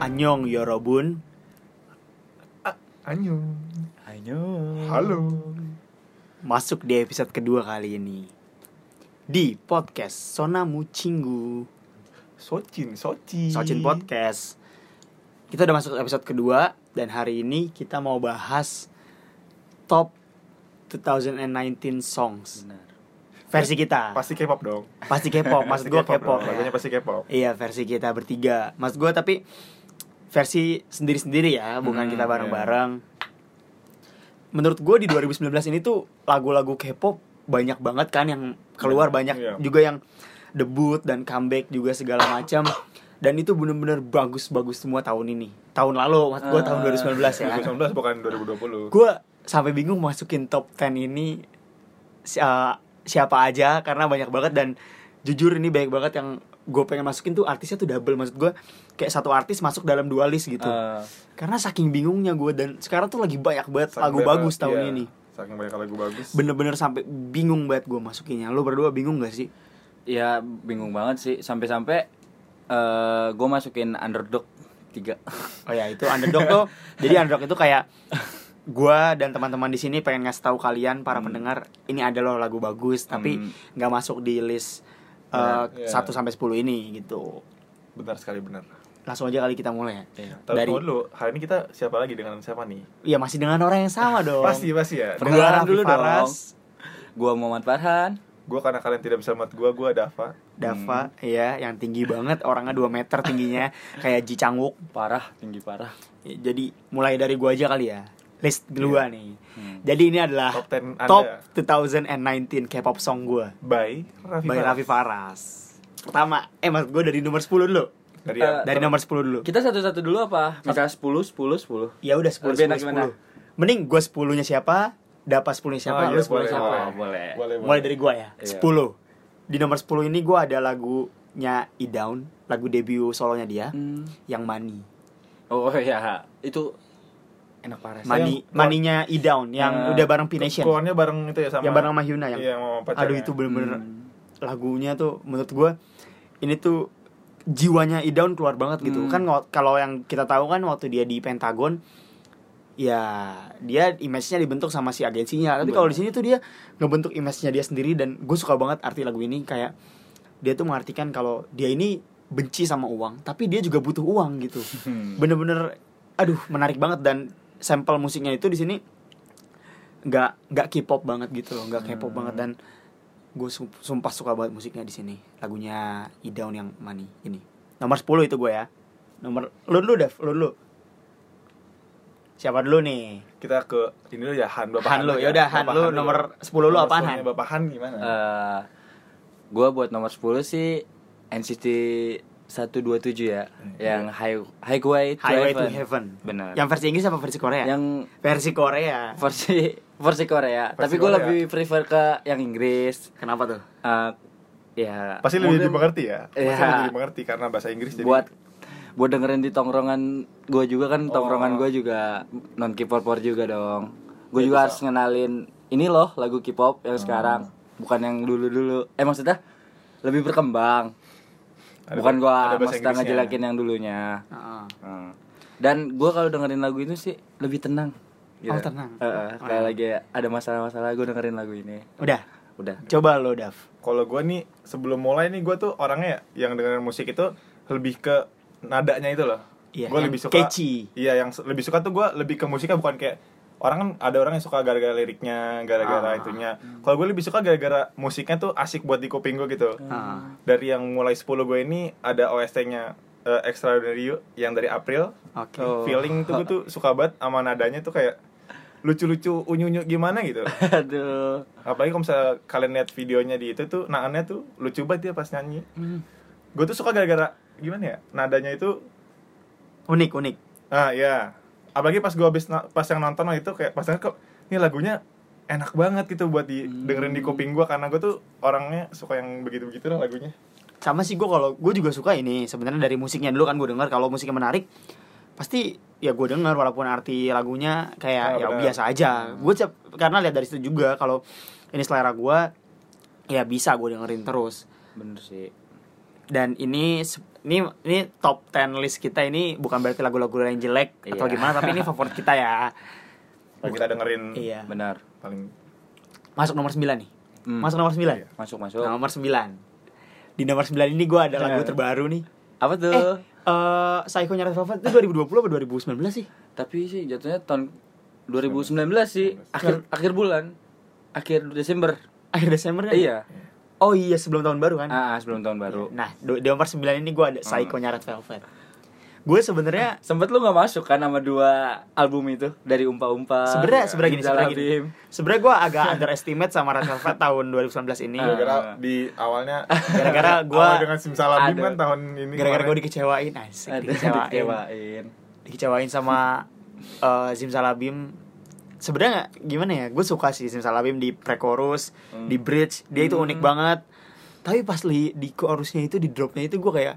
Anyong Yorobun. Anyo. Ayo. Halo. Masuk di episode kedua kali ini. Di podcast Sonamu Cinggu. Socin, Soci. Socin Podcast. Kita udah masuk episode kedua dan hari ini kita mau bahas top 2019 songs Benar. versi kita. Pasti K-pop dong. Pasti K-pop, maksud Pasti gue dong. K-pop. ya. Lagunya pasti K-pop. Iya, versi kita bertiga. Maksud gue tapi versi sendiri-sendiri ya, bukan Hmm, kita bareng-bareng. Menurut gue di 2019 ini tuh lagu-lagu K-pop banyak banget kan yang keluar banyak Iya. juga yang debut dan comeback juga segala macam. Dan itu bener-bener bagus-bagus semua tahun ini. Tahun lalu, maksud gue tahun Ah. 2019 ya. 2019 bukan 2020. Gue sampai bingung masukin top 10 ini si- uh, siapa aja karena banyak banget dan jujur ini banyak banget yang gue pengen masukin tuh artisnya tuh double maksud gue kayak satu artis masuk dalam dua list gitu Eh, karena saking bingungnya gue dan sekarang tuh lagi banyak banget Ah. Saking lagu banyak- bagus tahun iya, ini Saking banyak lagu bagus. bener-bener sampai bingung banget gue masukinnya lo berdua bingung gak sih ya bingung banget sih sampai-sampai eh gue masukin underdog tiga. oh ya itu underdog tuh jadi underdog itu kayak gue dan teman-teman di sini pengen ngasih tahu kalian para Hmm. pendengar ini ada loh lagu bagus tapi Hmm. nggak masuk di list Nah, iya. 1 sampai 10 ini gitu Benar sekali benar. langsung aja kali kita mulai ya Iya. Tapi Dari- tunggu dulu, hari ini kita siapa lagi dengan siapa nih? Iya masih dengan orang yang sama dong. Pasti pasti ya. Gua Perkenalan Raffi dulu dong. Faras, Gue Muhammad Farhan. Gue karena kalian tidak bisa melihat gue, gue Dava. Dava, Hmm. ya yang tinggi banget, orangnya 2 meter tingginya, kayak Ji Changwook. Parah, tinggi parah. Ya, Jadi mulai dari gua aja kali ya. List dua nih. Hmm. Jadi ini adalah Iya. Top 10 Anda. top 2019 K-pop song gua By Raffi. by Mas. Raffi Faras. Pertama, eh mas gua dari nomor 10 dulu. Dari Eh, yang- Dari nomor 10 dulu. Kita satu-satu dulu apa? Misal 10, 10, 10 Ya udah 10 Lebih enak 10, gimana? 10. Mending gua 10-nya siapa? Dapat 10-nya siapa? Oh, iya, lu 10-nya boleh, siapa? boleh. Oh, boleh. Boleh, Mulai boleh. dari gua ya. Iya. 10. Di nomor 10 ini gua ada lagunya E Down, lagu debut solonya dia Hmm. yang Money. Oh ya, itu enak parah sih. Ma- Money, Nah, yang- Money-nya E Down yang Eh, udah bareng P-Nation. Keluarnya bareng itu ya sama. Yang bareng sama Hyuna yang. Iya, sama pacarnya. aduh itu bener-bener Hmm. lagunya tuh menurut gua ini tuh jiwanya E Down keluar banget gitu. Hmm. Kan wa- kalau yang kita tahu kan waktu dia di Pentagon ya dia image-nya dibentuk sama si agensinya. Tapi kalau di sini tuh dia ngebentuk image-nya dia sendiri dan gue suka banget arti lagu ini kayak dia tuh mengartikan kalau dia ini benci sama uang, tapi dia juga butuh uang gitu. Bener-bener aduh menarik banget dan sampel musiknya itu di sini nggak nggak K-pop banget gitu loh, nggak K-pop banget dan gue sumpah suka banget musiknya di sini. Lagunya E Down yang Money ini. Nomor 10 itu gue ya. Nomor lu dulu Dev, lu dulu. Siapa dulu nih? Kita ke ini dulu ya Han Bapak Han lu, yaudah, Han Bapak lu dulu. nomor 10 lu Nomor apaan, 10 -nya Han? Bapak Han gimana? Eh, gue buat nomor 10 sih NCT 127 ya yang high highway to Highway heaven, ya? to Heaven. benar Yang versi Inggris apa versi Korea? Yang versi Korea. versi versi Korea Versi tapi gue Korea. lebih prefer ke yang Inggris Kenapa tuh? Eh, ya Pasti lebih mungkin dimengerti ya. Pasti Iya. lebih dimengerti karena bahasa Inggris jadi. buat buat dengerin di tongkrongan gue juga kan Oh. tongkrongan gue juga non K-pop juga dong gue Ya, bisa. juga Hmm. harus ngenalin ini loh lagu K-pop yang sekarang bukan yang dulu dulu eh maksudnya lebih berkembang Ada- bukan ada gua bahasa maksudnya Inggrisnya. ngejelekin yang dulunya Hmm. dan gua kalau dengerin lagu itu sih lebih tenang Oh, tenang. Eh, eh, kayak lagi ada masalah-masalah gua dengerin lagu ini Udah, udah coba lo Dav. Kalau gua nih sebelum mulai nih gua tuh orangnya ya, yang dengerin musik itu lebih ke nadanya itu loh. Iya, Gua yang lebih suka catchy. Iya, yang se- lebih suka tuh gua lebih ke musiknya bukan kayak orang kan ada orang yang suka gara-gara liriknya, gara-gara Ah. itunya. Kalau gue lebih suka gara-gara musiknya tuh asik buat di kuping gue gitu. Ah. Dari yang mulai 10 gue ini ada OST-nya eh, Extraordinary You yang dari April. Oke. Oh. Feeling tuh gue tuh suka banget sama nadanya tuh kayak lucu-lucu unyu-unyu gimana gitu. aduh Apalagi kalau misalnya kalian lihat videonya di itu tuh naannya tuh lucu banget dia pas nyanyi. Hmm. Gue tuh suka gara-gara gimana ya? Nadanya itu Unik, unik. ah ya. Apalagi pas gua habis na- pas yang nonton waktu itu kayak pas denger, kok ini lagunya enak banget gitu buat di Hmm. dengerin di kuping gua karena gue tuh orangnya suka yang begitu-begitu lah lagunya. Sama sih gue kalau gue juga suka ini sebenarnya dari musiknya dulu kan gue dengar kalau musiknya menarik pasti ya gue dengar walaupun arti lagunya kayak Ah, ya benar. biasa aja. Hmm. Gue karena lihat dari situ juga kalau ini selera gue ya bisa gue dengerin terus. bener sih dan ini se- ini ini top 10 list kita ini bukan berarti lagu-lagu yang jelek atau Iya. gimana tapi ini favorit kita ya Kalau kita dengerin iya benar paling masuk nomor 9 nih Hmm. masuk nomor 9 masuk masuk Iya. nomor 9 di nomor 9 ini gue ada lagu Eh. terbaru nih apa tuh eh eh Psycho Nya Red Velvet itu 2020 apa 2019 sih tapi sih jatuhnya tahun 2019 sih akhir akhir bulan akhir Desember akhir Desember kan? iya oh iya sebelum tahun baru kan ah, ah, sebelum tahun baru Hmm. nah do- di nomor 9 ini gue ada Psycho Nya Red Velvet gue sebenarnya sempet lu nggak masuk kan sama dua album itu dari umpa umpa sebenarnya sebenarnya gini Ginjal sebenarnya gini Abim. sebenarnya gue agak underestimate sama Red Velvet tahun 2019 ini Ah. gara-gara di awalnya Gara-gara gua- awal dengan simsalabim Aduh. kan tahun ini gara-gara gue kemarin. dikecewain asik Aduh, dikecewain dikecewain. dikecewain sama eh, Zimsalabim sebenarnya nggak- gimana ya gue suka sih Zimsalabim di pre-chorus di bridge dia itu unik banget tapi pas li, di chorusnya itu di dropnya itu gue kayak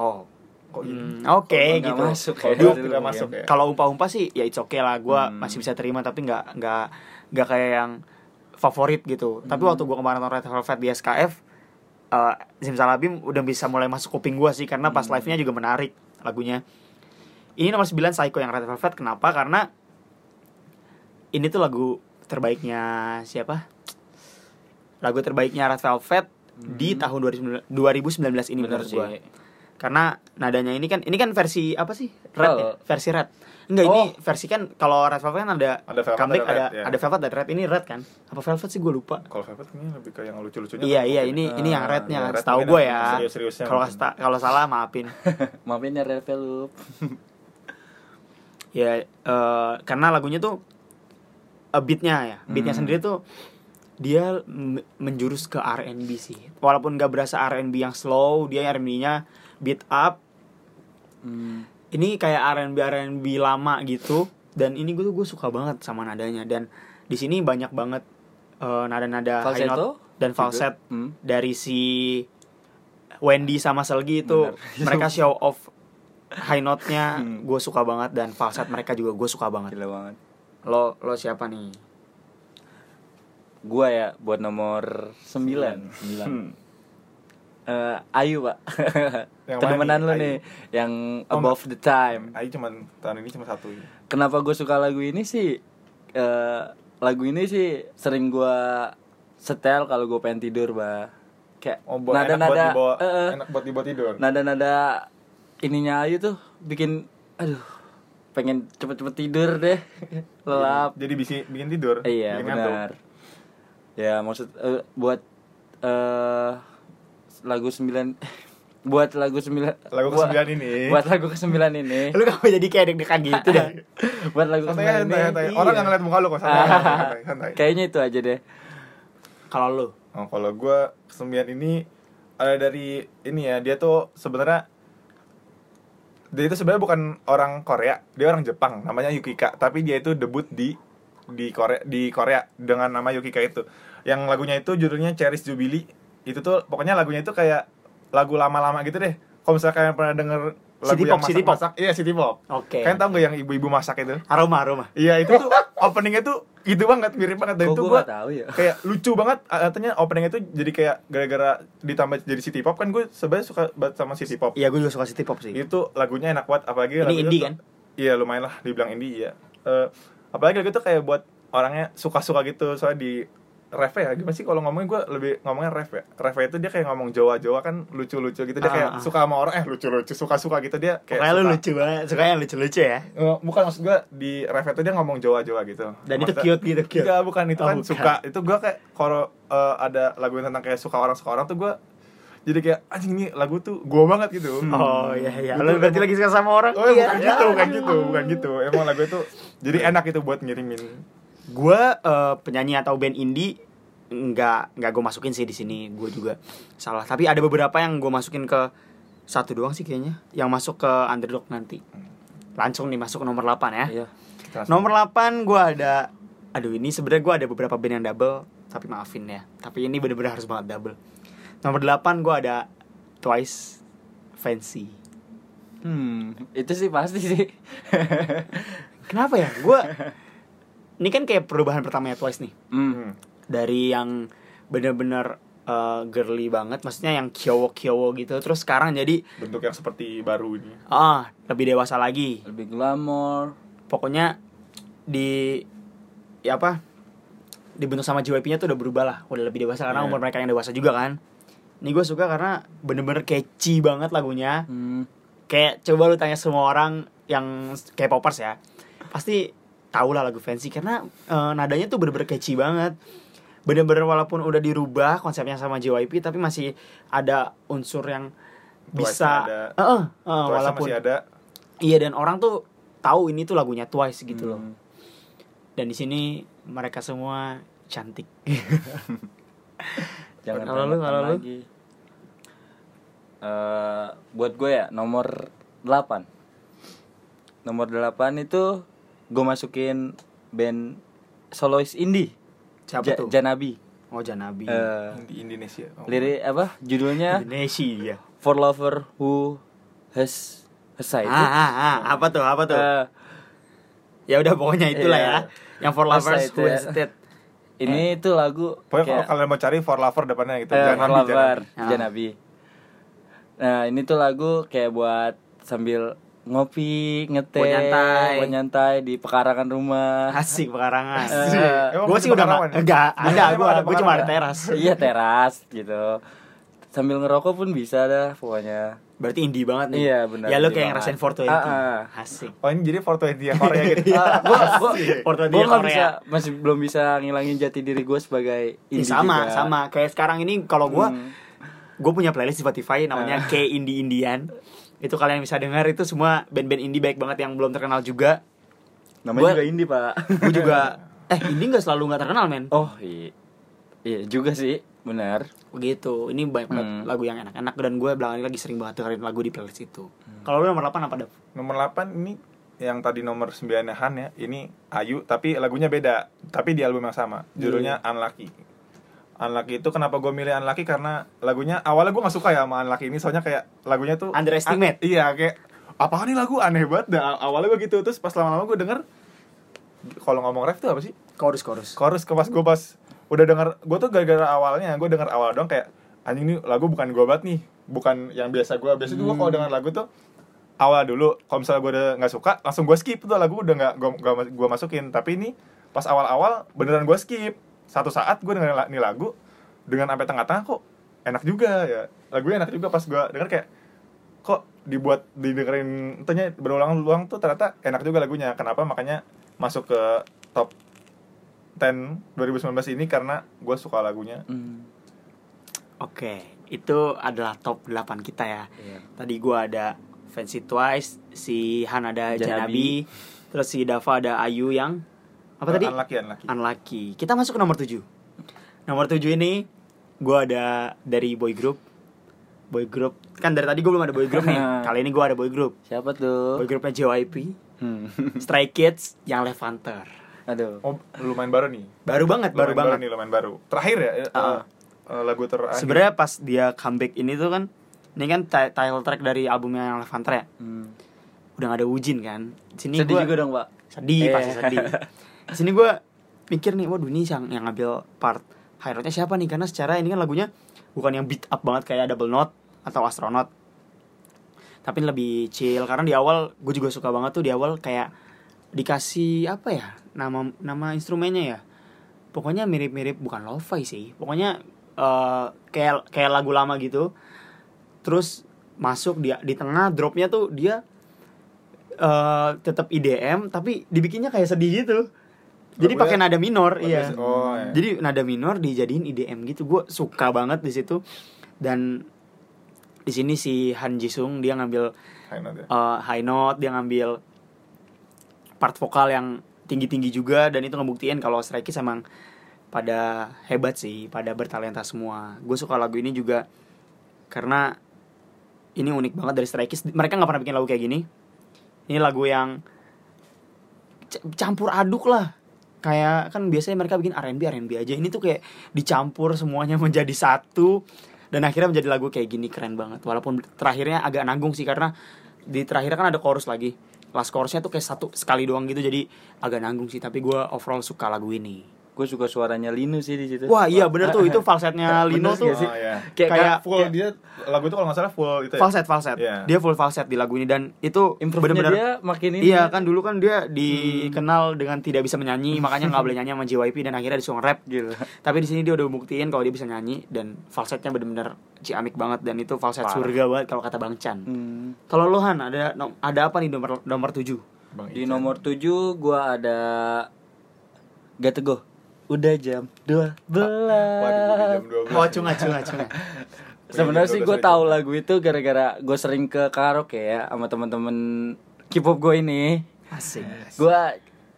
oh Kok gitu? hmm, oke Nggak gitu masuk Kalau ya. dulu Dari tidak lu, masuk ya. kalau umpah-umpah sih ya it's okay lah gue Hmm. masih bisa terima tapi nggak nggak nggak kayak yang favorit gitu tapi waktu Hmm. gue kemarin nonton Red Velvet di SKF eh Zimsalabim udah bisa mulai masuk kuping gue sih karena Hmm. pas live-nya juga menarik lagunya ini nomor 9 Psycho yang Red Velvet kenapa karena ini tuh lagu terbaiknya siapa lagu terbaiknya Red Velvet di tahun 2019 2019 ini Hmm. bener menurut sih gue karena nadanya ini kan ini kan versi apa sih red ya? Oh. versi red enggak ini Oh. versi kan kalau red velvet kan ada Ada velvet, comeback ada ada red, ya. ada velvet ada red ini red kan apa velvet sih gue lupa kalau Velvet ini lebih ke yang lucu-lucunya iya kan iya mungkin. ini ini yang yang rednya iya, red setahu mungkin gue yang ya serius-seriusnya kalau mungkin. sta- kalau salah maafin maafin ya Revelup ya eh, karena lagunya tuh eh, beatnya ya beatnya Hmm. sendiri tuh dia m- menjurus ke R&B sih walaupun gak berasa R&B yang slow dia R&B-nya beat up Hmm. ini kayak R&B R&B lama gitu dan ini gue tuh gue suka banget sama nadanya dan di sini banyak banget eh, nada-nada high Falsetto note dan juga. falset Hmm. dari si Wendy sama Selgi itu Benar. mereka show off high note-nya Hmm. gue suka banget dan falset mereka juga gue suka banget gila banget lo lo siapa nih gua ya buat nomor 9 Hmm. Eh, Ayu pak Yang mana temenan nih, lo Ayu? nih yang Oh, above the time Ayu cuman tahun ini cuma satu ini. kenapa gue suka lagu ini sih eh, lagu ini sih sering gua setel kalau gue pengen tidur bah kayak Oh, buat nada enak buat nada dibawa, eh, eh, enak buat dibawa tidur. nada nada ininya Ayu tuh bikin aduh pengen cepet-cepet tidur deh lelap Jadi bisa bikin tidur. Iya bikin ngantuk. benar. Ya maksud eh, buat eh lagu 9 buat lagu 9 Lagu buat- ke-9 ini. Buat lagu ke-9 ini. Iya. lo Eh, kenapa jadi kayak deg-degan gitu dah buat lagu ke-9 Santai aja, santai, santai. Nah, ini. iya. Orang nggak ngeliat muka lu kok, santai, santai, santai. Kayaknya itu aja deh. kalau lo Oh, kalau gua kesembilan ini ada dari ini ya, dia tuh sebenarnya dia itu sebenarnya bukan orang Korea, dia orang Jepang, namanya Yukika, tapi dia itu debut di di Korea di Korea dengan nama Yukika itu. Yang lagunya itu judulnya Cherish Jubilee. Itu tuh pokoknya lagunya itu kayak lagu lama-lama gitu deh. Kalau misalnya kalian pernah denger lagu City yang pop, city pop. masak-masak, iya City Pop. Oke. Kalian tau gak yang ibu-ibu masak itu? aroma aroma Iya itu tuh openingnya tuh gitu banget mirip banget dan Kok itu gua gua nggak tahu ya? kayak lucu banget artinya openingnya tuh jadi kayak gara-gara ditambah jadi city pop kan gue sebenarnya suka banget sama city pop iya gue juga suka city pop sih itu lagunya enak banget apalagi Ini lagunya indie tuh- kan? iya lumayan lah dibilang indie iya Eh, apalagi lagu itu kayak buat orangnya suka-suka gitu soalnya di ref ya gimana sih kalau ngomongnya gue lebih ngomongnya ref ya ref itu dia kayak ngomong Jawa-Jawa kan lucu-lucu gitu dia Ah, kayak ah. suka sama orang eh lucu-lucu suka-suka gitu dia kayak kayak lo suka- lucu banget suka yang lucu-lucu ya Eh, bukan maksud gue di ref itu dia ngomong Jawa-Jawa gitu dan itu Maksudnya- cute gitu cute Enggak, bukan itu Oh, kan bukan. suka. Itu gua kayak kalau eh, ada lagu yang tentang kayak suka orang suka orang tuh gua jadi kayak anjing ini lagu tuh gua banget gitu. Oh iya iya. Gitu Lo berarti emang- lagi suka sama orang? Iya. Oh, bukan gitu, bukan gitu, bukan gitu. Emang lagu itu jadi enak itu buat ngirimin. Gue eh, penyanyi atau band indie nggak nggak gue masukin sih di sini. Gue juga salah. Tapi ada beberapa yang gue masukin ke satu doang sih kayaknya. Yang masuk ke underdog nanti. Langsung nih masuk ke nomor 8 Ah. ya. Iya. Kita langsung- Nomor 8 gue ada. Aduh ini sebenarnya gue ada beberapa band yang double. Tapi maafin ya. Tapi ini bener-bener harus banget double. Nomor 8 gue ada Twice Fancy. Hmm, itu sih pasti sih. Kenapa ya? Gue ini kan kayak perubahan pertamanya Twice nih. hmm. Hmm. dari yang bener-bener eh, girly banget maksudnya yang kyowo kyowo gitu terus sekarang jadi bentuk yang seperti baru ini ah lebih dewasa lagi lebih glamor pokoknya di ya apa dibentuk sama JYP-nya tuh udah berubah lah udah lebih dewasa karena Iya. umur mereka yang dewasa juga kan ini gue suka karena bener-bener catchy banget lagunya hmm. kayak coba lu tanya semua orang yang K-popers ya pasti tau lah lagu fancy karena eh, nadanya tuh bener-bener catchy banget bener-bener walaupun udah dirubah konsepnya sama JYP tapi masih ada unsur yang bisa Twice-nya Eh, ada. eh, eh, Twice walaupun masih ada iya dan orang tuh tahu ini tuh lagunya Twice gitu loh Hmm. dan di sini mereka semua cantik jangan Kalau lu, remehkan kalau lu? lagi. Eh, buat gue ya nomor 8 nomor 8 itu gue masukin band solois indie siapa Ja- tuh Janabi oh Janabi Eh, di Indonesia Oh. lirik apa judulnya Indonesia for lover who has has ah, Nah, side ah, ah, apa tuh apa tuh Eh, ya udah pokoknya itulah iya. ya yang for lovers Masa itu who ya. instead Eh. ini tuh lagu pokoknya kalau kayak- kalian mau cari for lover depannya gitu Eh, Jangan for Nabi, jangan lover Nabi. Ah. Janabi. Nah, ini tuh lagu kayak buat sambil ngopi, ngeteh, Buat nyantai. buat nyantai di pekarangan rumah. asik pekarangan Asik. Emang gue itu sih udah pengalaman? ya? nggak enggak ada Emang gue ada gue cuma ada pengalaman? teras iya, teras gitu. Sambil ngerokok pun bisa dah pokoknya. berarti indie banget nih Iya, benar, ya lu indie kayak banget. ngerasain 420 Ah, ah. asik oh ini jadi foto yang Korea gitu Iya. Ah, gua gua, Porto gua dia nggak Korea. bisa masih belum bisa ngilangin jati diri gue sebagai Ini indie sama juga. sama kayak sekarang ini kalau gue Hmm. gue punya playlist di Spotify namanya K Indie Indian itu kalian bisa dengar itu semua band-band indie baik banget yang belum terkenal juga namanya Gua- juga indie, Pak. gue juga eh indie nggak selalu nggak terkenal men oh, iya. Iya juga sih, benar. begitu Gitu. ini banyak banget Oh. Hmm. lagu yang enak-enak dan gue belakangan ini lagi sering banget dengerin lagu di playlist itu Hmm. kalau lu nomor 8 apa Dap? nomor 8 ini yang tadi nomor 9 Han ya ini Ayu tapi lagunya beda tapi di album yang sama judulnya Unlucky Unlucky itu kenapa gue milih Unlucky karena lagunya awalnya gue gak suka ya sama Unlucky ini soalnya kayak lagunya tuh Underestimate. A- iya kayak apa nih lagu aneh banget dah awalnya gue gitu terus pas lama-lama gue denger kalau ngomong ref tuh apa sih chorus chorus chorus ke pas gue pas udah denger gue tuh gara-gara awalnya gue denger awal dong kayak anjing ini lagu bukan gue banget nih bukan yang biasa gue biasa tuh gue kalau denger lagu tuh awal dulu kalau misalnya gue udah nggak suka langsung gue skip tuh lagu udah nggak gue gue masukin tapi ini pas awal-awal beneran gue skip satu saat gue denger ini lagu dengan sampai tengah-tengah kok enak juga ya lagunya enak juga pas gue denger kayak kok dibuat didengerin tentunya berulang-ulang tuh ternyata enak juga lagunya kenapa makanya masuk ke top 10 2019 ini karena gue suka lagunya Hmm. Oke, itu adalah top 8 kita ya. Iya. Tadi gua ada Fancy Twice, si Han ada Janabi, Janabi. terus si Dava ada Ayu yang apa tadi? Unlucky Unlucky Unlucky. Kita masuk ke nomor 7. Nomor 7 ini gua ada dari boy group. Boy group. Kan dari tadi gue belum ada boy group nih. Kali ini gua ada boy group. Siapa tuh? Boy groupnya JYP, Hmm. Stray Kids, yang Levanter. Aduh. oh lumayan baru nih Baru banget, baru lumayan baru banget. nih lumayan baru terakhir ya eh, Ah. eh, lagu terakhir Sebenarnya pas dia comeback ini tuh kan ini kan ti- title track dari albumnya yang Levanter ya. Hmm. udah gak ada Wujin kan sini Sedih gua- juga dong, Pak. sedih Iya. pasti sedih sini gue mikir nih waduh ini yang yang ngambil part high note-nya siapa nih karena secara ini kan lagunya bukan yang beat up banget kayak double note atau astronaut tapi lebih chill karena di awal gue juga suka banget tuh di awal kayak dikasih apa ya nama nama instrumennya ya pokoknya mirip-mirip bukan lo-fi sih pokoknya eh, kayak kayak lagu lama gitu terus masuk dia di tengah dropnya tuh dia eh tetap IDM tapi dibikinnya kayak sedih gitu jadi Lagunya- pakai nada minor iya oh ya. jadi nada minor dijadiin IDM gitu gue suka banget di situ dan di sini si Han Jisung dia ngambil High note ya. eh, high note dia ngambil part vokal yang tinggi tinggi juga dan itu ngebuktiin kalau Stray Kids emang pada hebat sih pada bertalenta semua gue suka lagu ini juga karena ini unik banget dari Stray Kids mereka nggak pernah bikin lagu kayak gini ini lagu yang c- campur aduk lah kayak kan biasanya mereka bikin R&B R&B aja ini tuh kayak dicampur semuanya menjadi satu dan akhirnya menjadi lagu kayak gini keren banget walaupun terakhirnya agak nanggung sih karena di terakhir kan ada chorus lagi last chorusnya tuh kayak satu sekali doang gitu jadi agak nanggung sih tapi gue overall suka lagu ini Gue gue suka suaranya Linu sih di situ Wah iya bener tuh itu falsetnya Bener Lino sih tuh gak sih? Oh, iya. kayak, Kayak- kayak full dia lagu itu kalau nggak salah full itu ya? falset falset. Iya. Dia full falset di lagu ini dan itu improve-nya bener-bener dia makin ini Iya kan dulu kan dia dikenal dengan tidak bisa menyanyi makanya nggak boleh nyanyi sama JYP dan akhirnya disuruh rap. gila Tapi di sini dia udah buktiin kalau dia bisa nyanyi dan falsetnya bener-bener ciamik banget dan itu falset Parah. surga banget kalau kata Bang Chan. Hmm. Kalau lu Han ada no- ada apa nih nomor nomor 7? Bang Di Ican. nomor 7 gua ada Gak teguh Udah jam 12 Waduh, udah jam ya. 12. Oh cunga cunga cunga. Sebenarnya sih gue 12 aja. tahu lagu itu gara-gara gue sering ke karaoke ya sama teman-teman K-pop gue ini. Asik. Gua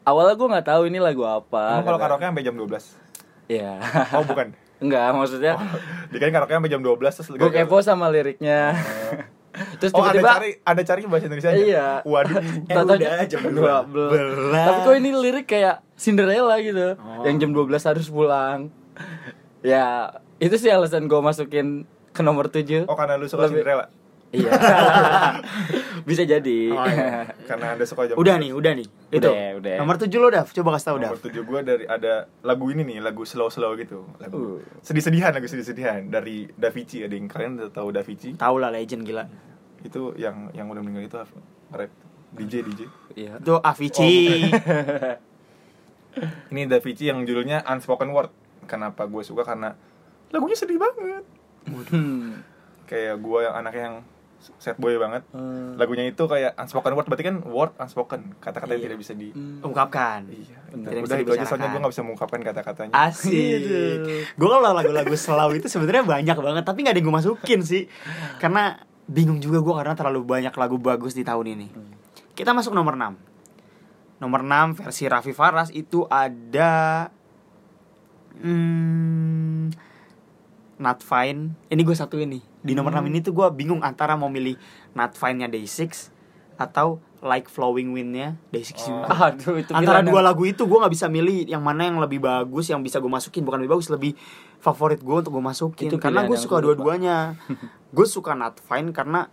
awalnya gue nggak tahu ini lagu apa. Emang kalau karena- karaoke sampai jam 12. Iya. Oh, bukan. Oh, Enggak, maksudnya Dikirain karaoke sampai jam 12 terus gue Ya. kepo sama liriknya. Terus Oh, ada tiba-tiba cari ada cari bahasa Indonesia. Iya. Waduh. Eh, Tatonya udah jam 12. 12. Tapi kok ini lirik kayak Cinderella gitu. Oh. Yang jam 12 harus pulang. ya, itu sih alasan gue masukin ke nomor kan? 7. Oh, karena lu suka Lebih- Cinderella. Iya. Bisa jadi. Oh, iya. Karena Anda suka jam Udah nih, udah nih. Itu. Udah, udah. Nomor 7 lo Dav, coba kasih tau Dav. Nomor tujuh gue dari ada lagu ini nih, lagu slow-slow gitu. Lagu Uh. sedih-sedihan, lagu sedih-sedihan dari Da Vinci. Ada yang kalian udah tahu Da Vinci? Tahu lah legend gila. Itu yang yang udah meninggal itu apa? Rap DJ DJ. Iya. Itu Avicii. Ini Da Vinci yang judulnya Unspoken Word. Kenapa gue suka karena lagunya sedih banget. Hmm. Kayak gue yang anaknya yang sad boy banget. Hmm. Lagunya itu kayak unspoken word berarti kan word unspoken, kata-kata yang tidak bisa di Ungkapkan. Iya. Tidak Iya. Hmm. bisa Ah. Udah itu aja soalnya dibicarakan. gue gak bisa mengungkapkan kata-katanya. Asik. gue Iya, kalau lagu-lagu slow itu sebenarnya banyak banget, tapi nggak ada yang gue masukin sih. Karena bingung juga gue karena terlalu banyak lagu bagus di tahun ini. Kita masuk nomor 6. Nomor 6 versi Raffi Faras itu ada hmm, Not Fine. Ini gue satu ini. Di nomor 6 ini tuh gue bingung antara mau milih Not Fine-nya Day6 atau Like Flowing Wind-nya Day6 juga Aduh, itu antara gila, dua Nan. lagu itu gue nggak bisa milih yang mana yang lebih bagus yang bisa gue masukin bukan lebih bagus lebih favorit gue untuk gue masukin Itu karena pilihan gue yang suka aku lupa. dua-duanya gue suka Not Fine karena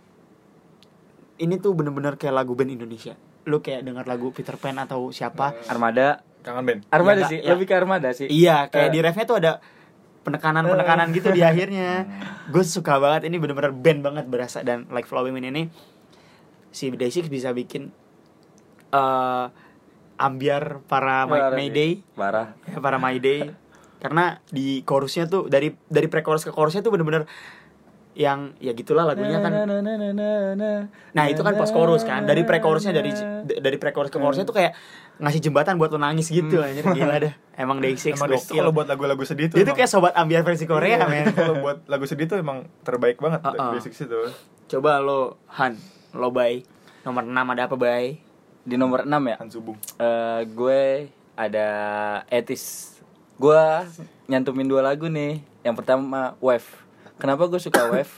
ini tuh bener-bener kayak lagu band Indonesia lu kayak dengar lagu Peter Pan atau siapa Eh. Armada. Kangen Ben. Ya, Armada sih, ya. lebih ke Armada sih. iya kayak Eh. di refnya tuh ada penekanan penekanan gitu di akhirnya gue suka banget ini bener-bener band banget berasa dan like Flowing Wind ini si Day6 bisa bikin eh ambiar para Parah May- sih. Mayday Parah. ya, para My Day karena di chorusnya tuh dari dari pre chorus ke chorusnya tuh bener-bener yang ya gitulah lagunya kan nah itu kan post chorus kan dari pre chorusnya dari dari pre chorus ke chorusnya tuh kayak ngasih jembatan buat lo nangis gitu anjir gila dah emang Day6 Hmm. Emang Dexter gokil kalau buat lagu-lagu sedih tuh dia tuh emang- kayak Iya. sobat ambiar versi Korea men Kalau buat lagu sedih tuh emang terbaik banget Uh-uh. basic sih tuh. coba lo Han lo bay nomor 6 ada apa bay Di nomor 6 ya. Han Subung. Eh, gue ada etis gue nyantumin dua lagu nih yang pertama wave kenapa gue suka wave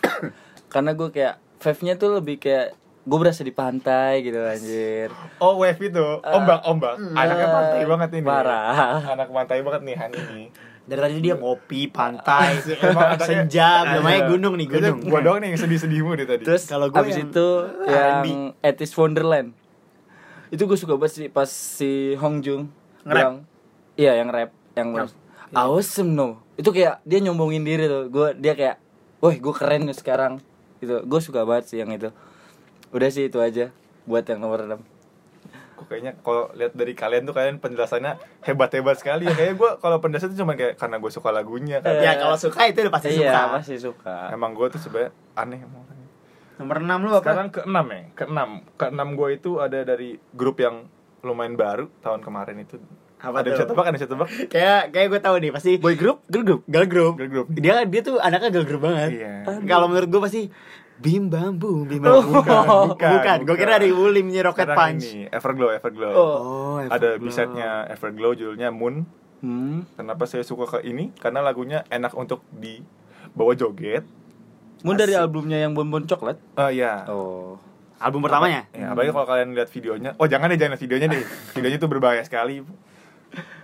karena gue kayak wave nya tuh lebih kayak gue berasa di pantai gitu anjir Oh wave itu Uh, ombak ombak. mm, Anaknya pantai banget ini. parah. Anak pantai banget nih Han ini. dari tadi dia ngopi pantai Emang anaknya- senja namanya Iya. gunung nih Itu gunung Gua doang nih yang sedih-sedihmu dari tadi. terus Kalau kalau gue abis yang- itu Ah, yang etis wonderland itu gue suka banget sih pas si Hong Jung Nge-rap. bilang- iya yang rap yang bilang, awesome no itu kayak dia nyombongin diri tuh gue dia kayak wah gue keren nih sekarang itu gue suka banget sih yang itu udah sih itu aja buat yang nomor 6 Kok kayaknya kalau lihat dari kalian tuh kalian penjelasannya hebat-hebat sekali ya. Kayaknya gua kalau penjelasan tuh cuma kayak karena gue suka lagunya kan. ya kalau suka itu udah pasti iya suka pasti suka Emang gue tuh sebenarnya aneh emang. nomor 6 lo apa Sekarang ke enam ya, ke enam. Ke enam gue itu ada dari grup yang lumayan baru tahun kemarin itu. Apa ada yang tuh? bisa tebak, ada yang bisa tebak. kayak kayak gue tahu nih pasti boy group girl group girl group Girl group. dia dia tuh anaknya girl group banget Iya. kalau menurut gue pasti bim bam bum bim bam bum. bukan bukan, gue kira dari ulimnya rocket Sekarang punch ini, Everglow, Everglow. Oh. oh Ada bisetnya Everglow judulnya Moon. hmm. Kenapa saya suka ke ini? Karena lagunya enak untuk dibawa joget. Mun dari albumnya yang bonbon coklat Oh iya. oh album pertamanya Ya, apalagi kalau kalian lihat videonya. Oh, jangan deh, jangan lihat videonya deh. videonya tuh berbahaya sekali.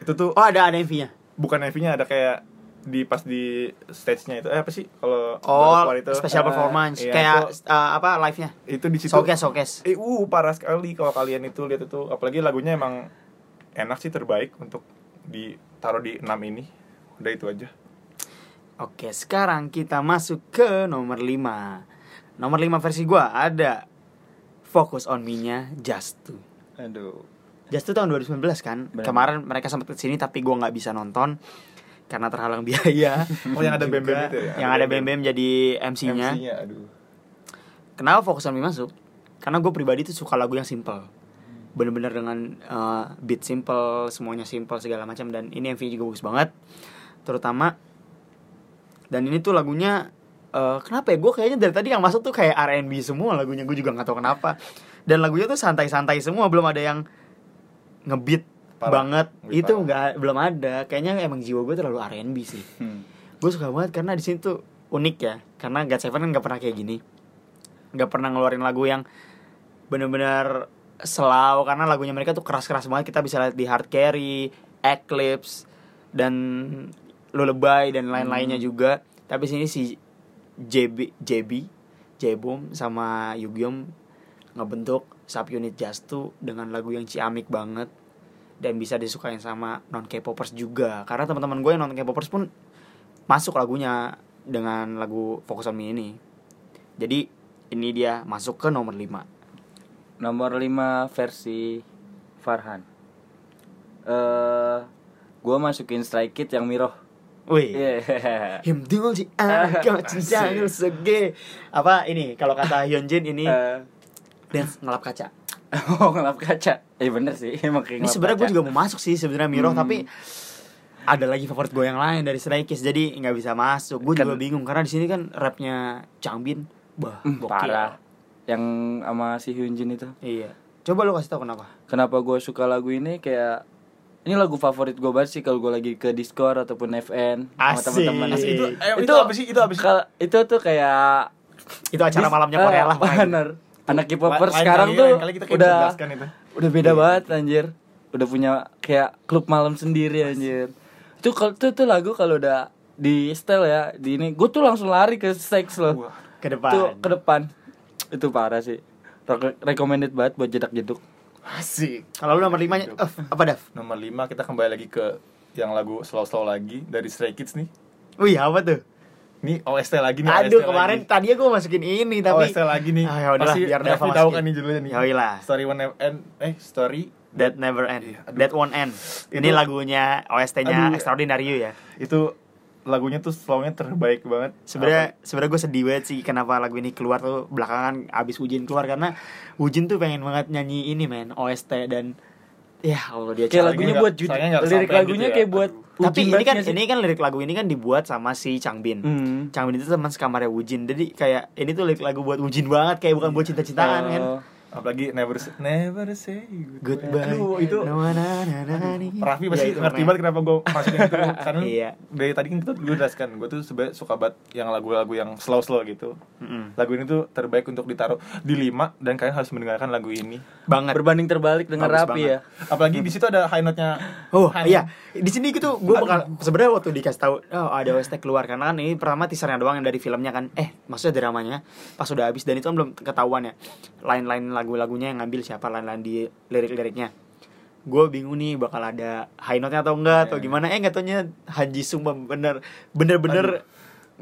Itu tuh oh ada ada MV nya bukan MV-nya ada kayak di pas di stage-nya itu. Eh, apa sih? Kalau oh baru keluar special Eh, performance iya, kayak itu- eh, apa live nya itu di situ showcase showcase eh uh parah sekali kalau kalian itu lihat itu apalagi lagunya emang enak sih terbaik untuk di taruh di 6 ini udah itu aja Oke, sekarang kita masuk ke nomor 5. Nomor 5 versi gua ada Focus on Me-nya Just Two. Aduh. Just Two tahun 2019 kan. Benar. Kemarin mereka sempat kesini tapi gua nggak bisa nonton karena terhalang biaya. Oh, yang ada Juga Bem-Bem itu ya? Yang ada Ada Bem-Bem jadi MC-nya. MC-nya aduh Kenapa Focus on Me masuk? Karena gue pribadi tuh suka lagu yang simple. Bener-bener dengan eh, beat simple, semuanya simple segala macam dan ini MV juga bagus banget. Terutama dan ini tuh lagunya eh, kenapa ya gue kayaknya dari tadi yang masuk tuh kayak R&B semua lagunya gue juga nggak tahu kenapa dan lagunya tuh santai-santai semua belum ada yang ngebeat Parah. banget Ngebeat itu parah. nggak belum ada kayaknya emang jiwa gue terlalu R&B sih Hmm. gue suka banget karena di sini tuh unik ya karena God Seven kan nggak pernah kayak gini nggak pernah ngeluarin lagu yang bener-bener selau karena lagunya mereka tuh keras-keras banget kita bisa lihat di Hard Carry, Eclipse dan Lullaby dan lain-lainnya juga tapi sini si JB JB Jebom sama Yugyom ngebentuk subunit Jastu dengan lagu yang ciamik banget dan bisa disukain sama non K-popers juga karena teman-teman gue yang non K-popers pun masuk lagunya dengan lagu Focus on Me ini. Jadi ini dia masuk ke nomor 5. Nomor 5 versi Farhan. Eh gua masukin Strike Kid yang Miroh. Iya. Wih. Yeah. Him dul di angkat jangan sege. Apa ini kalau kata Hyunjin ini Eh, dance ngelap kaca. oh, ngelap kaca. Eh bener sih, emang kayak Ini ngelap sebenarnya gue kaca. Hmm. juga mau masuk sih sebenarnya Miro tapi ada lagi favorit gue yang lain dari Stray Kids jadi nggak bisa masuk. Gue juga Kan- bingung karena di sini kan rapnya Changbin. Bah, Hmm, gokil. parah. Yang sama si Hyunjin itu. Iya. Coba lu kasih tau kenapa. Kenapa gua suka lagu ini kayak ini lagu favorit gue banget sih kalau gue lagi ke Discord ataupun FN sama Asik. teman-teman. Asik, itu- eh, itu apa sih? Itu apa sih? kal- Itu tuh kayak Itu acara Dis- malamnya Korea lah. eh, makanya. bener. Anak Lain K-popers kali- ya, sekarang lain tuh kali kita kayak udah bisa jelaskan itu. udah beda Iya. banget anjir. Udah punya kayak klub malam sendiri anjir. Itu kalau tuh, tuh lagu kalau udah di style ya, di ini gue tuh langsung lari ke seks loh. Wah. Ke depan. Tuh ke depan. Itu parah sih. Re- recommended banget buat jedak-jeduk. asik Kalau lu nomor 5 eh, apa Dav? nomor 5 kita kembali lagi ke yang lagu slow-slow lagi dari Stray Kids nih Wih, Oh iya, apa tuh? Nih OST lagi nih Aduh, OST kemarin lagi. tadinya gue masukin ini tapi OST Oh, lagi nih Ah, ya udahlah, Pasti biar Dava Raffi tahu masukin. kan nih judulnya nih Yaudah. Story One and Eh Story That never end. Iya, aduh. That won't end. Ini Itu- lagunya OST-nya Aduh. Extraordinary You ya. Itu lagunya tuh slownya terbaik banget Sebenarnya sebenarnya gue sedih banget sih kenapa lagu ini keluar tuh belakangan abis Ujin keluar karena Ujin tuh pengen banget nyanyi ini men OST dan ya Allah dia Kayak cara- lagunya nggak- buat judul. sayangnya nggak Lirik kesampaian lagunya gitu ya. kayak buat tapi Ujin ini kan banget sih. ini kan lirik lagu ini kan dibuat sama si Changbin. Hmm. Changbin itu teman sekamarnya Ujin. Jadi kayak ini tuh lirik lagu buat Ujin banget kayak bukan buat cinta-cintaan kan. Oh. Apalagi Never Say, Never Say Goodbye. Aduh itu Na- na- na- na- na- Raffi Ya, pasti itu makanya. ngerti banget kenapa gue masukin itu Karena Iya. dari tadi kan kita gue jelaskan Gue tuh sebenernya suka banget yang lagu-lagu yang slow-slow gitu Mm-mm. Lagu ini tuh terbaik untuk ditaruh di lima Dan kalian harus mendengarkan lagu ini Banget. Berbanding terbalik dengan Bagus Rapi banget. ya. Apalagi di situ ada high note-nya Oh High iya, di sini gitu gue bakal sebenarnya waktu dikasih tahu oh ada OST keluar karena kan ini pertama teasernya doang yang dari filmnya kan. Eh, maksudnya dramanya pas udah habis dan itu kan belum ketahuan ya. Lain-lain lagu-lagunya yang ngambil siapa, lain-lain di lirik-liriknya. Gue bingung nih bakal ada high note-nya atau enggak atau Iya. gimana. Eh, katanya Haji Sung mem- bener bener-bener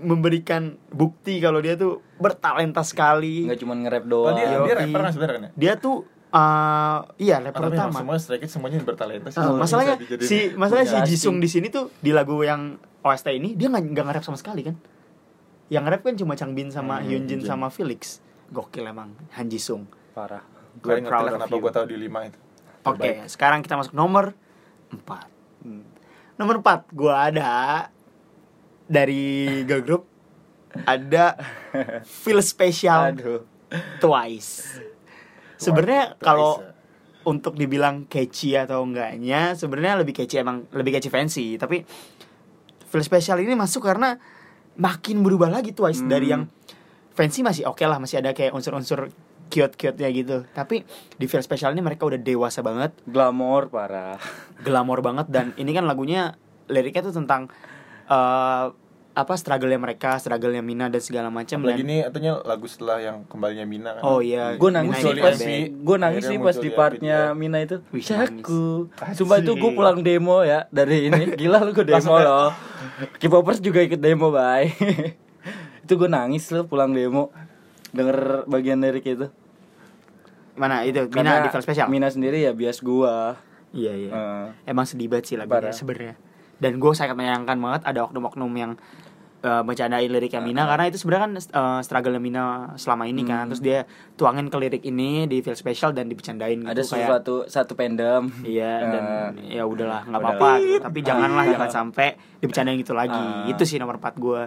memberikan bukti kalau dia tuh bertalenta sekali. Enggak cuma nge-rap Oh, doang. dia, Wow. dia Yoi. rapper kan sebenarnya kan ya? Dia tuh eh, iya Tapi level emang utama. semua Stray Kids semuanya bertalenta sih. Ah, masalahnya Bisa dijadiin Iya, si masalahnya si punya Jisung asing. di sini tuh di lagu yang OST ini dia nggak nggak nge-rap sama sekali kan? Yang nge-rap kan cuma Changbin sama Hmm, Hyunjin Hyunjin. sama Felix. Gokil emang Han Jisung. Parah. Gue Kalian ngerti proud lah of kenapa you. gue tahu di lima itu. Oke, sekarang kita masuk nomor 4. Hmm. Nomor 4 gua ada dari girl group ada feel special Aduh. Twice. Sebenarnya Twice kalau ya. untuk dibilang catchy atau enggaknya, sebenarnya lebih catchy emang lebih catchy fancy, tapi feel special ini masuk karena makin berubah lagi Twice Hmm. dari yang fancy masih oke lah, masih ada kayak unsur-unsur cute-cute-nya gitu. Tapi di feel special ini mereka udah dewasa banget, Glamor parah. glamor banget dan ini kan lagunya liriknya tuh tentang eh apa struggle-nya mereka, struggle-nya Mina dan segala macam Apalagi dan ini artinya lagu setelah yang kembalinya Mina kan. Oh iya. gue nangis Mina sih ini Munculin pas comeback. Abi. gue nangis Akhirnya sih pas muncul di di iya. partnya Abi Mina itu ya. Wih, Caku Sumpah itu gue pulang demo ya Dari ini Gila lu gue demo Langsung ya. loh K-popers juga ikut demo bye Itu gue nangis lu pulang demo Denger bagian lirik itu Mana itu Karena Mina di film spesial. Mina Eh, sendiri ya bias gua Iya iya. Heeh. Emang sedih banget sih lagunya Parah. sebenarnya. Dan gue sangat menyayangkan banget ada oknum-oknum yang eh, bercandain liriknya Mina karena itu sebenarnya kan eh, struggle Mina selama ini kan. Hmm. Terus dia tuangin ke lirik ini di film spesial dan dibecandain gitu Ada kayak- sesuatu Satu pendem Eh, Iya dan ya udahlah nggak Udah. apa-apa gitu. tapi janganlah Iya. jangan sampai dibicarain gitu lagi. Ah. Itu sih nomor 4 gue.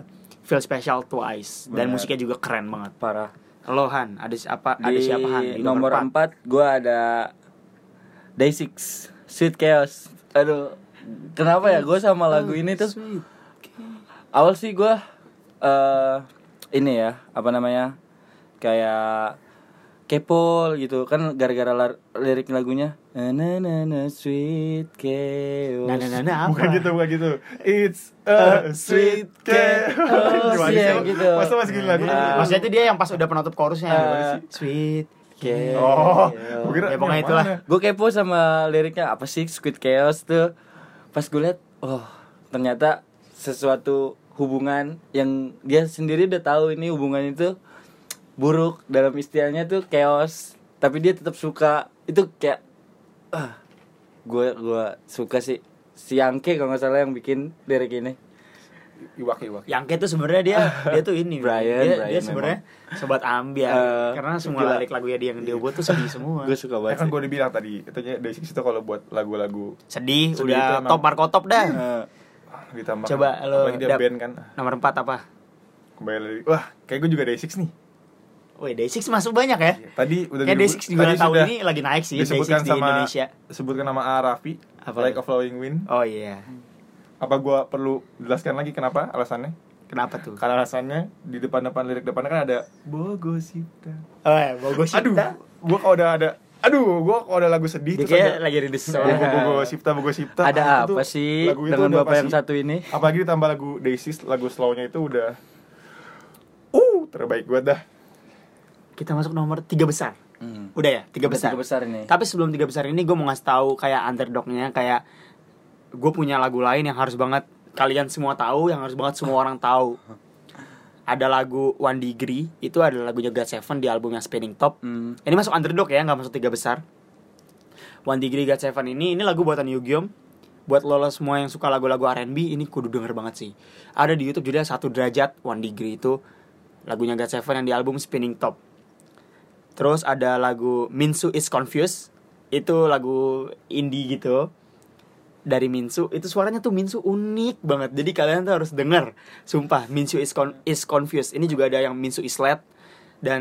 Feel special twice dan Benar. musiknya juga keren banget. Parah Lo Han, ada siapa ada Di siapa Han di nomor empat? 4 gua ada Day6 Sweet Chaos Aduh Kenapa ya gua sama lagu ini tuh awal sih gue eh ini ya apa namanya kayak kepo gitu kan gara-gara lar- lirik lagunya na na na na sweet chaos Nah, nah, nah, nah, apa? Bukan gitu, bukan gitu. It's a sweet chaos. Oh, Gimana chaos. sih Iya, lo? gitu. Masa masukin lagu Iya. lagi? Maksudnya itu dia yang pas udah penutup chorusnya Gimana sih? Sweet chaos Oh, Iya. gua kira Ya, pokoknya yang itulah. mana? gue kepo sama liriknya apa sih sweet chaos tuh pas gue liat oh ternyata sesuatu hubungan yang dia sendiri udah tahu ini hubungan itu buruk dalam istilahnya tuh chaos tapi dia tetap suka itu kayak ah gue gua suka sih si Yangke kalau nggak salah yang bikin lirik ini Iwaki, iwaki. Yang itu sebenarnya dia dia tuh ini. Brian, dia, Brian dia sebenarnya sobat ambiar Eh, karena semua gila. lirik lagunya dia yang dia buat tuh sedih semua. gue Ya suka banget kan sih. gue udah bilang tadi, katanya dari situ kalau buat lagu-lagu sedih, Sedih itu udah emang. top marko top dah. Eh, ditambah Coba lo apalagi dia dap- band kan Nomor 4 apa? kembali lagi wah kayak gue juga day six nih Wih, Day6 masuk banyak ya. Iya. tadi udah Kayak disebut- Day6 juga tadi tahun sudah ini lagi naik sih Day6 disebutkan di sama Indonesia. sebutkan nama A. Raffi Apa like itu? a flowing wind Oh iya. apa gue perlu jelaskan lagi kenapa alasannya Kenapa tuh? karena alasannya di depan depan lirik depannya kan ada Bogosita Oh, ya, Bogo aduh Sipta. gue kalau udah ada aduh gue kalau ada lagu sedih Dia terus kayak ada lagi rilis Iya. Bogo soalnya. Bogo Sipta Bogo Sipta ada Ah, itu apa tuh, sih lagu itu dengan udah bapak yang pasti- satu ini apalagi ditambah lagu Daisies lagu slownya itu udah uh terbaik gue dah Kita masuk nomor 3 besar. Hmm. Udah ya, tiga Udah besar. tiga besar ini. Tapi sebelum tiga besar ini gue mau ngasih tahu kayak underdognya kayak gue punya lagu lain yang harus banget kalian semua tahu, yang harus banget semua orang tahu. Ada lagu One Degree, itu ada lagunya God Seven di albumnya Spinning Top. Hmm. Ini masuk underdog ya, nggak masuk tiga besar. One Degree God Seven ini, ini lagu buatan Yugyeom. Buat lo, lo semua yang suka lagu-lagu R&B, ini kudu denger banget sih. Ada di YouTube judulnya Satu Derajat, One Degree itu lagunya God Seven yang di album Spinning Top. Terus ada lagu Minsu is Confused. Itu lagu indie gitu. Dari Minsu, itu suaranya tuh Minsu unik banget. Jadi kalian tuh harus denger. Sumpah, Minsu is, con- is Confused. Ini juga ada yang Minsu is Led dan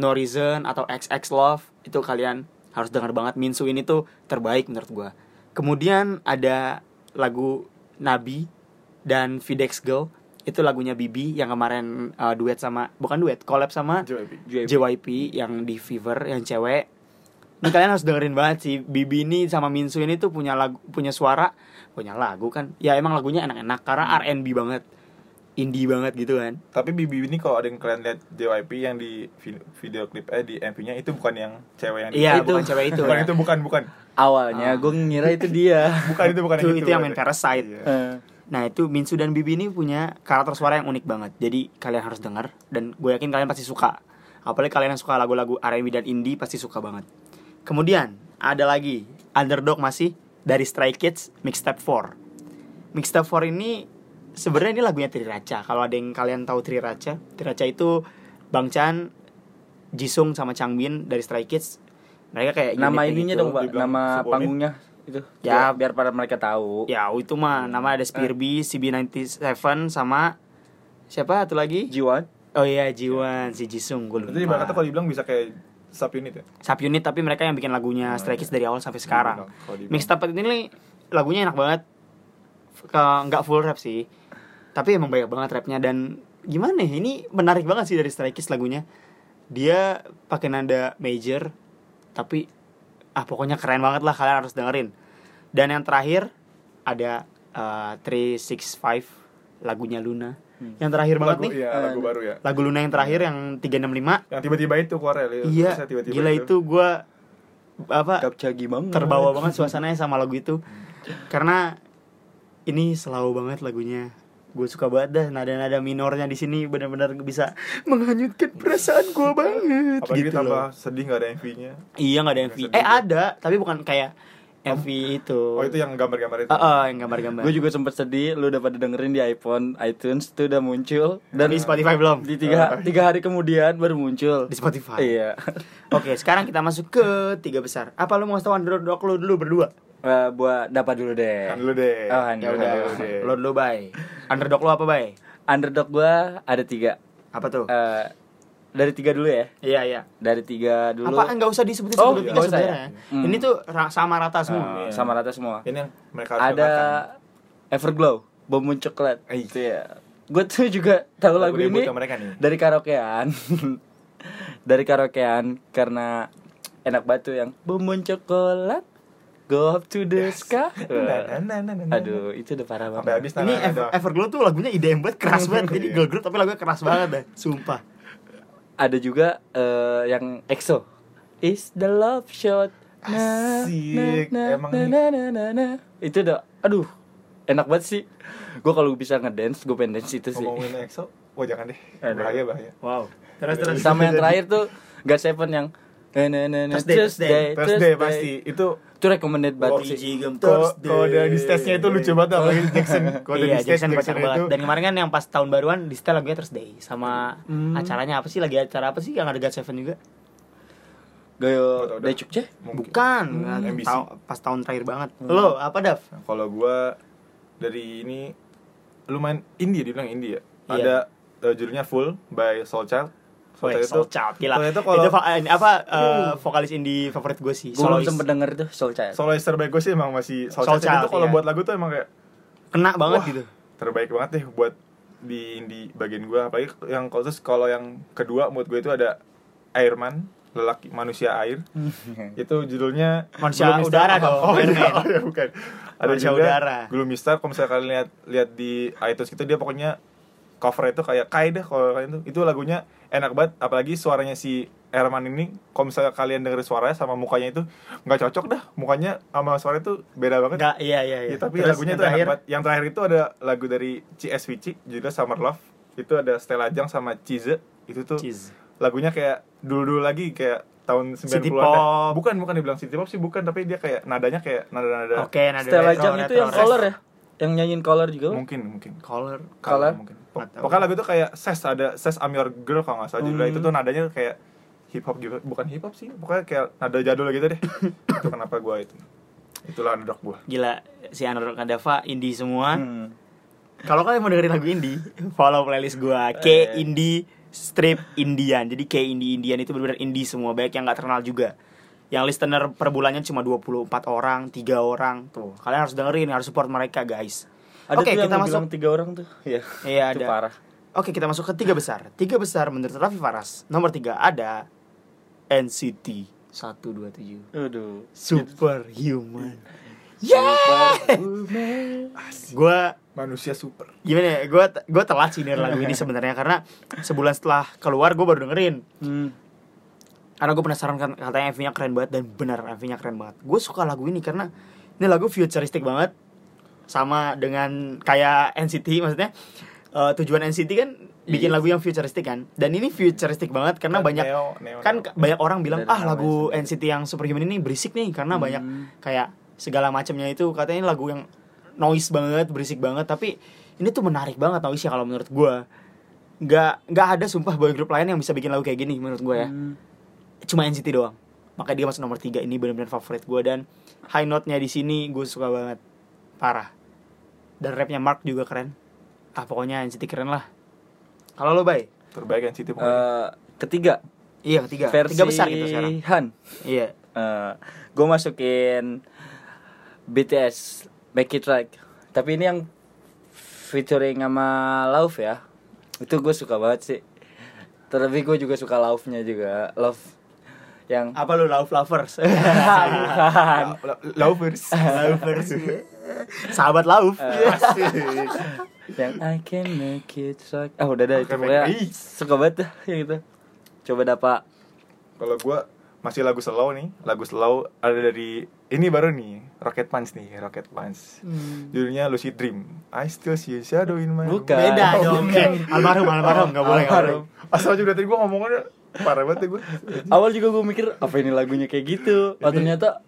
No Reason atau XX Love. Itu kalian harus denger banget Minsu ini tuh terbaik menurut gua. Kemudian ada lagu Nabi dan Fidex Girl. Itu lagunya Bibi yang kemarin uh, duet sama bukan duet, collab sama JYP JYP. JYP yang di Fever yang cewek. Ini kalian harus dengerin banget sih. Bibi ini sama Minsu ini tuh punya lagu, punya suara, punya lagu kan. Ya emang lagunya enak-enak karena R&B banget. Indie banget gitu kan. Tapi Bibi ini kalau ada yang kalian lihat JYP yang di vi- video klip eh di MV-nya itu bukan yang cewek yang di- Iya, Itu. bukan cewek itu. bukan ya. itu bukan bukan awalnya gue ngira itu dia bukan itu bukan Itu- itu yang main berarti. Parasite. Iya. Eh. Nah, itu Minsu dan Bibi ini punya karakter suara yang unik banget. Jadi kalian harus denger dan gue yakin kalian pasti suka. Apalagi kalian yang suka lagu-lagu R&B dan indie pasti suka banget. Kemudian ada lagi Underdog masih dari Stray Kids Mixtape 4. Mixtape 4 ini sebenarnya ini lagunya Tri Raca. Kalau ada yang kalian tahu Tri Raca, Tri Raca itu Bang Chan, Jisung sama Changbin dari Stray Kids. Mereka kayak nama unitnya ininya gitu. dong pak dibilang nama subunit. panggungnya itu Iya. Ya. ya biar para mereka tahu Ya itu mah nama ada Spear B, CB97 sama siapa satu lagi? Jiwan Oh iya Jiwan, si Jisung gue Berarti ibaratnya lupa. kalau dibilang bisa kayak subunit ya. Subunit tapi mereka yang bikin lagunya Stray Kids dari awal sampai Iya, sekarang. Dibilang, kalau dibilang. Mixtape ini lagunya enak banget. F- Ke nggak full rap sih. Tapi emang banyak banget rapnya dan gimana ya ini menarik banget sih dari Stray Kids lagunya. Dia pakai nada major tapi ah pokoknya keren banget lah kalian harus dengerin. Dan yang terakhir ada eh, 365 lagunya Luna. yang terakhir banget Hmm. lagu, nih Iya, lagu baru ya. lagu Luna yang terakhir yang 365 Yang tiba-tiba itu Korea ya. iya terusnya tiba-tiba gila itu gue apa Capcagi banget. terbawa banget suasananya sama lagu itu karena ini selalu banget lagunya gue suka banget dah nada-nada minornya di sini benar-benar bisa menghanyutkan perasaan gue banget Apalagi gitu tambah loh sedih gak ada MV-nya. iya nggak ada MV Sedih. eh ada tapi bukan kayak MV itu Oh, itu yang gambar-gambar itu. Ah, ah, yang gambar-gambar Gue juga sempet sedih, lu udah pada dengerin di iPhone, iTunes tuh udah muncul dan di Spotify belum di tiga tiga hari kemudian baru muncul. di Spotify Iya. oke sekarang kita masuk ke tiga besar apa lu mau ngasih tau underdog lu dulu berdua Eh, buat dapat dulu deh. Kan dulu deh. Oh, Han ya dulu. udah Oke. lo dulu bay underdog lu apa bay Underdog gua ada tiga. apa tuh Eh, dari tiga dulu ya. iya iya Dari tiga dulu. apa nggak usah Ah, disebutin Oh, sebelum tiga nggak usah ya? sebenarnya Hmm. ini tuh ra- sama rata semua Eh, sama rata semua. Ini yang mereka harus ada dengarkan. Everglow Bomun Coklat Eh. itu ya gue tuh juga tahu Lagu lagu, ini debutnya mereka nih. dari karaokean dari karaokean karena enak banget tuh yang Bomun Coklat Go up to the sky Na, na, na, na, na, na. Aduh itu udah parah Sampai habis ini banget nah, nah, Ever- nah. Everglow tuh lagunya ide banget keras banget jadi girl group tapi lagunya keras banget deh sumpah Ada juga eh, yang EXO Is the love shot Na, Asik, na, na, emang na, nih. na, na, na, na. Itu udah Aduh enak banget sih Gue kalau bisa ngedance gue pengen dance itu sih ngomongin EXO. Wah, jangan deh. Aduh. Bahaya, bahaya. wow terus terus sama yang terakhir tuh God Seven yang na, na, na, na, Thursday, Thursday, Thursday pasti itu itu Oh, recommended banget sih. sih Jigem Ko- Thursday. kode di stage-nya itu lucu banget apalagi Jackson. Kode iya di stage Jackson kocak Jackson banget itu. dan kemarin kan yang pas tahun baruan di setel lagunya Thursday sama acaranya apa sih lagi acara apa sih yang ada God Seven juga Oh, Gayo udah. Daycuk Ceh Mungkin. bukan MBC. Tau- pas tahun terakhir banget lo apa Dav Nah, Kalau gua dari ini lumayan indie dibilang indie ya. Iya. Ada eh, judulnya Full by Soulchild. Weh, Soulchild, gila. Soulchild Itu, itu kalau va- eh, apa eh, vokalis indie favorit gue sih, gue belum solois. sempet denger tuh Soul Child soloist terbaik gue sih emang masih Soulchild. Soulchild, itu kalau iya. buat lagu tuh emang kayak Kena banget Wah. gitu. terbaik banget deh buat di indie bagian gua apalagi yang kalau terus kalau yang kedua menurut gue itu ada Airman lelaki manusia air itu judulnya Manusia Gloomy Star udara apa? dong, oh, iya, Airman. oh iya, bukan ada Manusia juga udara. Gloomy Star kalau misalnya kalian lihat lihat di iTunes gitu dia pokoknya cover itu kayak kai deh kalau kalian tuh itu lagunya enak banget apalagi suaranya si Herman ini kalau misalnya kalian dengerin suaranya sama mukanya itu nggak cocok dah mukanya sama suara itu beda banget Enggak, iya iya iya. Ya, tapi Terus yang lagunya itu enak terakhir, banget. Yang terakhir itu ada lagu dari CSVC judulnya Summer Love. Itu ada Stella Jang sama Cize. Itu tuh Cheese. lagunya kayak dulu-dulu lagi kayak tahun 90-an. City dah. pop. Bukan, bukan dibilang city pop sih bukan, tapi dia kayak nadanya kayak nada-nada. Oke, nada Stella retro, Jang itu retro, yang retro. color ya yang nyanyiin color juga Mungkin, mungkin. Color. Color? mungkin. Nggak tahu. Pokoknya lagu itu kayak Ses ada Ses I'm Your Girl kalau nggak salah judulnya. Hmm. Itu tuh nadanya kayak hip hop juga. Bukan hip hop sih, pokoknya kayak nada jadul gitu deh. itu kenapa gua itu. Itulah underdog gua. Gila, si Anur Kadava indie semua. Hmm. Kalau kalian mau dengerin lagu indie, follow playlist gua K Indie Strip Indian. Jadi K Indie Indian itu benar-benar indie semua, baik yang nggak terkenal juga. Yang listener per bulannya cuma 24 orang, 3 orang. Tuh, kalian harus dengerin, harus support mereka, guys. ada Oke, tuh kita yang lu masuk bilang tiga orang tuh Iya Iya, ada. itu parah Oke kita masuk ke tiga besar Tiga besar menurut Raffi Faras Nomor tiga ada NCT 127 Aduh Superhuman Yeah Superwoman. Gue Manusia super. gimana ya Gue gua telat sih denger lagu ini sebenarnya Karena sebulan setelah keluar gue baru dengerin Hmm. Karena gue penasaran kan katanya MV-nya keren banget Dan benar MV-nya keren banget Gue suka lagu ini karena Ini lagu futuristik banget Sama dengan kayak NCT maksudnya eh, Tujuan NCT kan bikin Iya. lagu yang futuristik kan Dan ini futuristik banget karena Dan banyak Neo- Neo- kan Neo. ka- banyak orang bilang Dari ah namanya lagu sendiri. NCT yang Superhuman ini berisik nih karena Hmm. banyak kayak segala macamnya itu katanya ini lagu yang noise banget berisik banget tapi ini tuh menarik banget noise nya kalau menurut gua nggak nggak ada sumpah boy group lain yang bisa bikin lagu kayak gini menurut gua ya Hmm. cuma NCT doang makanya dia masuk nomor 3 ini benar-benar favorit gua dan high note nya di sini gue suka banget parah dan rapnya Mark juga keren ah pokoknya NCT keren lah kalau lo bay Terbaik NCT pokoknya. Eh, ketiga iya ketiga versi tiga besar gitu sekarang Han iya gue Eh, masukin BTS Make It Right tapi ini yang featuring sama Love ya itu gue suka banget sih terlebih gue juga suka Love nya juga Love yang apa lu love lovers bukan Lovers. lovers Sahabat Lauf. Eh, yang I can make you suck ah udah dah I itu can pokoknya make- Ih. suka banget dah yang itu coba dapat Kalau gua masih lagu slow nih, lagu slow ada dari ini baru nih, Rocket Punch nih, Rocket Punch. Hmm. Judulnya Lucid Dream. I still see a shadow in my Bukan. Beda Oh, dong. bukan. Almarhum, almarhum nggak boleh. nggak boleh. Almarhum. Asal juga tadi gua ngomongannya parah banget ya gua. awal juga gue mikir apa ini lagunya kayak gitu oh ternyata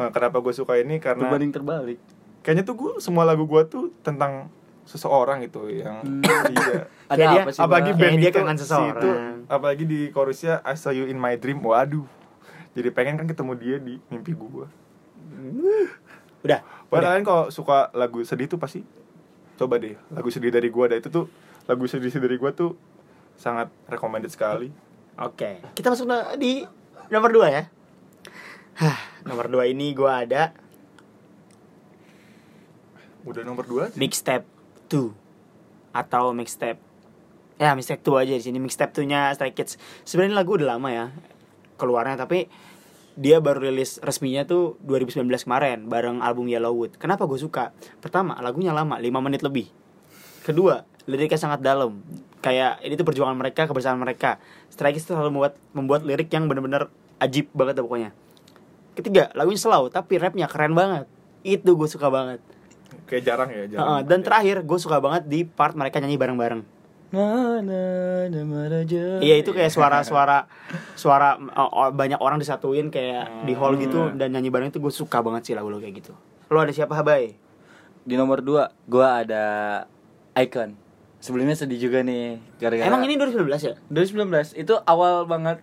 Nah, kenapa gue suka ini karena berbanding terbalik kayaknya tuh gue semua lagu gue tuh tentang seseorang gitu yang iya ada Kayak dia- apa sih apalagi Mbak? Kayaknya band Hmm. dia itu, kangen si seseorang. itu, apalagi di chorusnya I saw you in my dream waduh jadi pengen kan ketemu dia di mimpi gue Udah. padahal kalian kalau suka lagu sedih tuh pasti coba deh lagu sedih dari gue ada itu tuh lagu sedih dari gue tuh sangat recommended sekali Oke, kita masuk na- di nomor dua ya. Hah, nomor dua ini gue ada udah nomor dua aja. mixtape 2 atau mixtape ya mixtape 2 aja di sini mixtape 2 nya Stray Kids sebenarnya lagu udah lama ya keluarnya tapi dia baru rilis resminya tuh 2019 kemarin bareng album Yellowwood kenapa gue suka pertama lagunya lama 5 menit lebih kedua liriknya sangat dalam kayak ini tuh perjuangan mereka kebersamaan mereka Stray Kids tuh selalu membuat membuat lirik yang bener-bener ajib banget dah pokoknya ketiga lagunya slow tapi rapnya keren banget itu gue suka banget kayak jarang ya Heeh, jarang Ah, dan terakhir gue suka banget di part mereka nyanyi bareng-bareng. Mana ada Nah, meraja. Iya itu kayak suara-suara suara eh, o- banyak orang disatuin kayak di hall gitu dan nyanyi bareng itu gue suka banget sih lagu lo kayak gitu. Lo ada siapa Habay? di nomor 2 gua ada Icon sebelumnya sedih juga nih gara-gara Emang ini 2019 ya? 2019 itu awal banget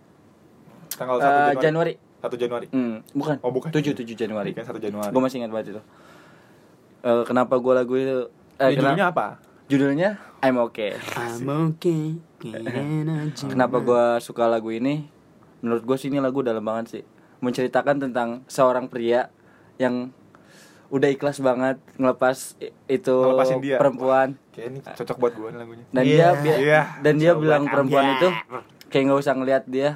tanggal eh, 1 Januari. satu Januari Hmm, bukan. Oh, bukan. 7 7 Januari. Bukan, 1 Januari. Gua masih ingat banget itu. Eh, kenapa gua lagu itu eh, Ini judulnya apa kena- judulnya I'm Okay. I'm okay, keren aja. Kenapa gua suka lagu ini? Menurut gua sih ini lagu dalam banget sih. Menceritakan tentang seorang pria yang udah ikhlas banget ngelepas i- itu Ngelepasin dia. perempuan. kayak ini cocok buat gue lagunya dan Iya. dia bi- Iya. dan dia Coba bilang kamu. perempuan Iya. itu kayak nggak usah ngelihat dia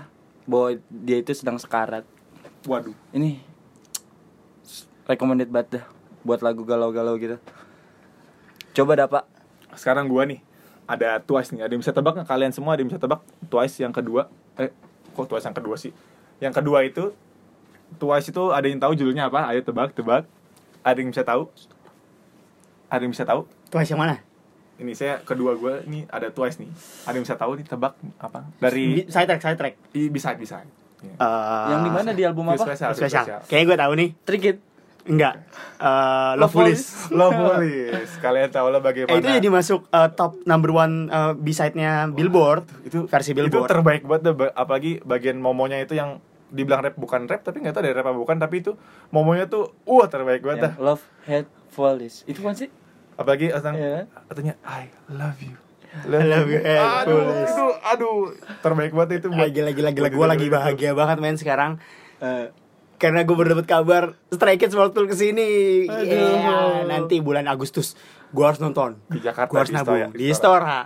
bahwa dia itu sedang sekarat waduh ini recommended banget dah buat lagu galau-galau gitu coba dah pak sekarang gua nih ada Twice nih ada yang bisa tebak nggak kalian semua ada yang bisa tebak Twice yang kedua eh kok Twice yang kedua sih yang kedua itu Twice itu ada yang tahu judulnya apa ayo tebak tebak ada yang bisa tahu ada yang bisa tahu Twice yang mana? ini saya kedua gua nih ada Twice nih ada yang bisa tahu nih tebak apa dari Side track, side track. i, bisa bisa Iya. Eh, yang di mana di album Feel apa special, feel Spesial. special. Kayaknya gue tahu nih. Trick It Enggak. Eh Love Love Police. Love Police kalian tahu lah bagaimana Eh, itu jadi masuk eh, top number one eh, B-side-nya Billboard. itu versi Billboard. itu terbaik banget deh, ba- apalagi bagian momonya itu yang dibilang rap bukan rap tapi nggak tahu dari rap apa bukan tapi itu momonya tuh wah terbaik Ya. banget dah yang Love Hate Police itu kan sih apalagi tentang Iya. katanya I love you Ya. I love you, eh, aduh Police. Ah, itu aduh terbaik banget itu buat- Lagi lagi lagi buat gue lagi dengerin itu. bahagia banget men sekarang Eh, karena gue baru dapat kabar Stray Kids World Tour kesini. Aduh. Yeah, nanti bulan Agustus gue harus nonton. Di Jakarta, Gue harus di nabung Istora. di Istora.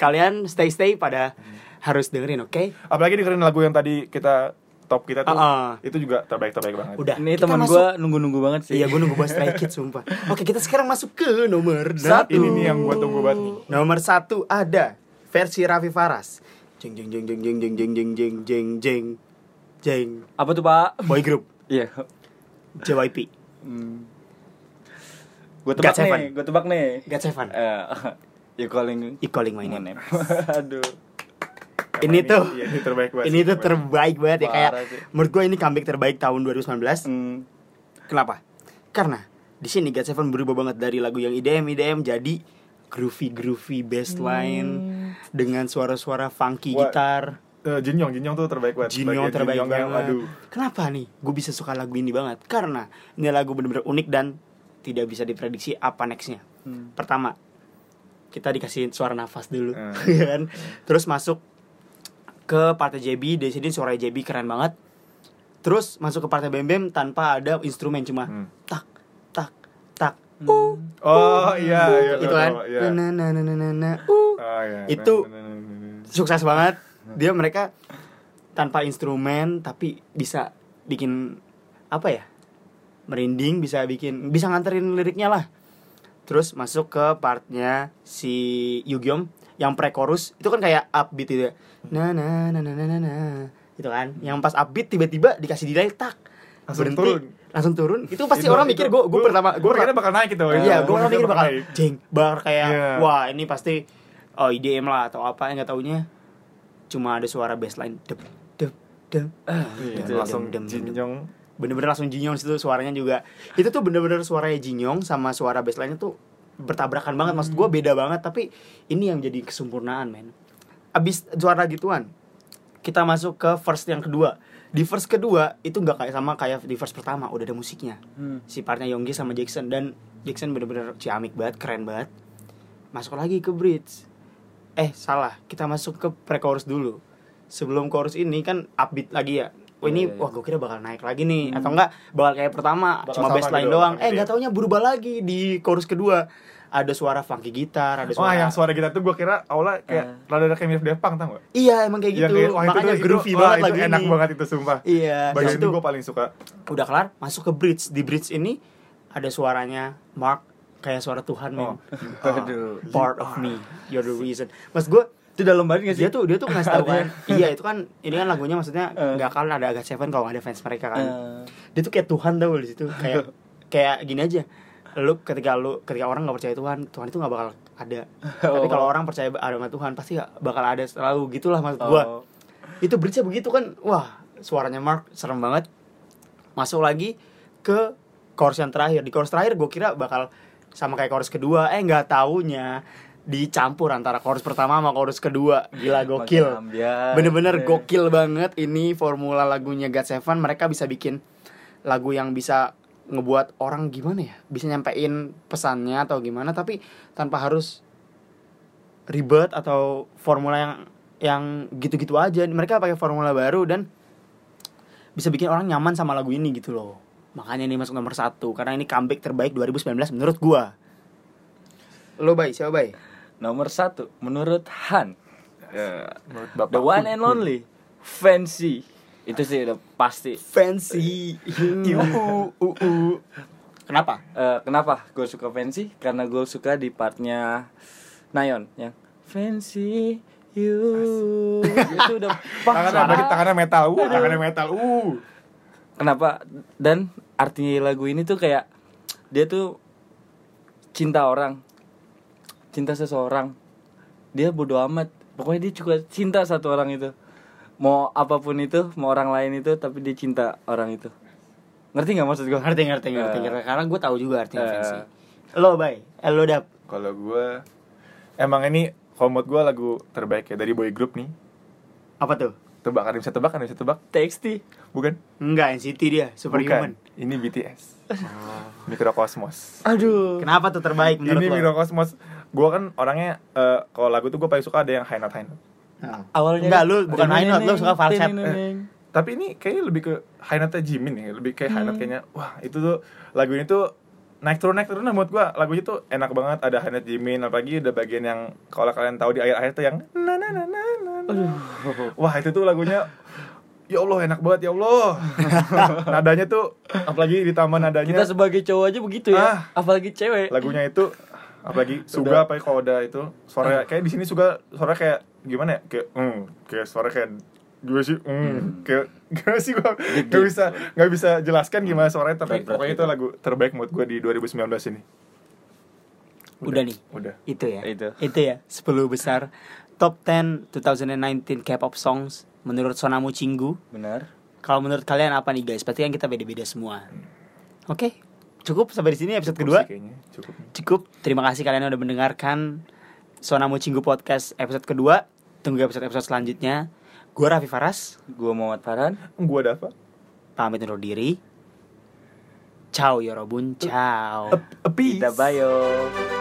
Kalian stay stay pada harus dengerin, oke? apalagi dengerin lagu yang tadi kita top kita Ah, tuh ah. itu juga terbaik terbaik banget Udah. Ya, ini kita teman masuk- gua nunggu-nunggu banget sih Iya, gue nunggu buat Stray Kids sumpah. Oke, kita sekarang masuk ke nomor Satu. ini satu. nih yang gua tunggu banget nih Nomor satu ada versi Raffi Faras. Jeng jeng jeng jeng jeng jeng jeng jeng jeng jeng jeng jeng apa tuh pak boy group iya JYP. gue tebak God Seven. nih gue tebak nih God Seven. Eh, you calling You calling my my name. name aduh Karena Ini tuh iya, ini terbaik banget ini sih, tuh terbaik. terbaik banget ya kayak Parah sih. menurut gue ini comeback terbaik tahun 2019. Hmm. Kenapa? Karena di sini God Seven berubah banget dari lagu yang E IDM IDM jadi groovy groovy bassline dengan suara-suara funky Wah, gitar. Eh, Jin Yong Jin Yong tuh terbaik banget Jin Yong Bagian terbaik Jin Yong banget. yang, aduh Kenapa nih? Gue bisa suka lagu ini banget karena ini lagu bener-bener unik dan tidak bisa diprediksi apa nextnya. Pertama, kita dikasih suara nafas dulu, Hmm. ya kan? Terus masuk ke partai JB, di sini suara JB keren banget. Terus masuk ke partai Bem Bem tanpa ada instrumen cuma Hmm. tak tak tak. Uh, oh iya iya itu tahu, kan. tahu, iya. Na, na, na, na, na, na, uh. Oh, iya. Itu- Nah, nah, nah, nah, nah. sukses banget dia mereka tanpa instrumen tapi bisa bikin apa ya merinding bisa bikin bisa nganterin liriknya lah terus masuk ke partnya si Yugyeom yang pre-chorus itu kan kayak upbeat gitu ya na na na na na na na gitu kan yang pas upbeat tiba-tiba dikasih delay tak Langsung berhenti turun. langsung turun itu pasti orang mikir gue gue pertama gue kira bakal naik gitu. Iya, gue orang kira mikir bakal jeng bar kayak Iya. wah ini pasti oh, IDM lah atau apa nggak taunya cuma ada suara bassline dep dep dep ah, Iya, gitu. langsung Dem, dem, dem, dem. jinjong. bener-bener langsung jinyong situ suaranya juga itu tuh bener-bener suaranya jinyong sama suara bassline tuh bertabrakan banget maksud Hmm. gue beda banget tapi ini yang jadi kesempurnaan men abis suara gituan kita masuk ke verse yang kedua di verse kedua itu nggak kayak sama kayak di verse pertama udah ada musiknya Hmm. si partnya Yonggi sama Jackson dan Jackson bener-bener ciamik banget keren banget masuk lagi ke bridge eh salah kita masuk ke pre-chorus dulu sebelum chorus ini kan upbeat lagi ya Oh, ini Iya, iya. wah gue kira bakal naik lagi nih atau enggak bakal kayak pertama Hmm. Bakal cuma sama baseline gitu, doang tapi eh dia- nggak taunya berubah lagi di chorus kedua ada suara funky gitar ada Wah, suara, yang suara kita tuh gue kira awalnya kayak Eh. rada-rada kayak mirip Daft Punk tau gak? iya emang kayak gitu kayak- wah, itu makanya tuh- itu- groovy wah, banget itu lagu Enak ini banget itu sumpah. iya Bagian Terus itu itu gue paling suka. udah kelar masuk ke bridge di bridge ini ada suaranya Mark kayak suara Tuhan Oh. men part of me you're the reason mas gue itu dalam banget Iya nggak sih? dia tuh dia tuh ngasih tahu kan Artinya. iya itu kan ini kan lagunya maksudnya Eh. nggak akan ada agak seven kalau nggak ada fans mereka kan Eh. dia tuh kayak Tuhan tau di situ kayak kayak gini aja lu ketika lu ketika orang nggak percaya Tuhan Tuhan itu nggak bakal ada tapi Oh. kalau orang percaya ada sama Tuhan pasti nggak bakal ada selalu gitulah maksud gua Oh. itu bridge begitu kan wah suaranya Mark serem banget masuk lagi ke chorus yang terakhir di chorus terakhir gue kira bakal sama kayak chorus kedua eh nggak taunya dicampur antara chorus pertama sama chorus kedua gila gokil Makin ambiar. bener-bener Eh. gokil banget ini formula lagunya God Seven mereka bisa bikin lagu yang bisa ngebuat orang gimana ya bisa nyampein pesannya atau gimana tapi tanpa harus ribet atau formula yang yang gitu-gitu aja mereka pakai formula baru dan bisa bikin orang nyaman sama lagu ini gitu loh makanya ini masuk nomor satu karena ini comeback terbaik 2019 menurut gua lo bay siapa bay Nomor satu menurut Han Ya. Menurut The Bapak. one and only Fancy Itu sih udah pasti fancy Iu, u, u. kenapa Eh, Kenapa gue suka Fancy? Karena gue suka di partnya Nayon Yang Fancy You Itu udah pas Tangannya suara. bagi tangannya metal. Uh, tangannya metal. Uh. Kenapa? Dan arti lagu ini tuh kayak Dia tuh Cinta orang Cinta seseorang Dia bodo amat Pokoknya dia juga cinta satu orang itu Mau apapun itu Mau orang lain itu Tapi dia cinta orang itu Ngerti gak maksud gue? ngerti ngerti ngerti Eh. ngerti karena gue tahu juga artinya Eh. fancy lo bay eh, lo dap Kalau gue emang ini kalau menurut gue lagu terbaik ya dari boy group nih. apa tuh Tebak, ada yang bisa tebak, ada yang bisa tebak. TXT Bukan? enggak NCT dia Bukan. superhuman Ini BTS. Mikrokosmos. Aduh. kenapa tuh terbaik Ah. menurut Ini lo Mikrokosmos. Gue kan orangnya eh, kalau lagu tuh gue paling suka ada yang high note high note. Nah. Awalnya enggak lu bukan high note lu suka Eh. falset Tapi ini kayaknya lebih ke high note Jimin ya, lebih kayak high note kayaknya. Wah, itu tuh lagu ini tuh naik turun naik turun nah, menurut gua lagunya tuh enak banget ada high note Jimin apalagi ada bagian yang kalau kalian tahu di akhir-akhir tuh yang na na na na na, na. Wah, itu tuh lagunya Ya Allah enak banget ya Allah. nadanya tuh apalagi ditambah Kita nadanya sebagai cowok aja begitu ya. Ah. Apalagi cewek. lagunya itu apalagi Udah. Suga apa ya, kalau udah itu suara kayak di sini Suga suara kayak gimana ya kayak mm, kayak suara kayak gue sih mm, kayak gimana sih gue nggak bisa nggak bisa jelaskan gimana suaranya tapi Berat-berat pokoknya gitu. itu lagu terbaik menurut gue di 2019 ini Udah nih. udah itu ya Itu. itu ya 10 besar top 10 2019 K-pop songs menurut Sonamu Cinggu Benar. kalau menurut kalian apa nih guys berarti kan kita beda-beda semua oke cukup sampai di sini episode Cukup kedua sih kayaknya cukup cukup. Terima kasih kalian udah mendengarkan Sonamu Cinggu Podcast episode kedua. Tunggu episode-episode selanjutnya. Gue Raffi Faras, Gua Muhammad Farhan. gue Dava pamit undur diri. Ciao Yorobun, ciao. A- a piece. Kita bayo.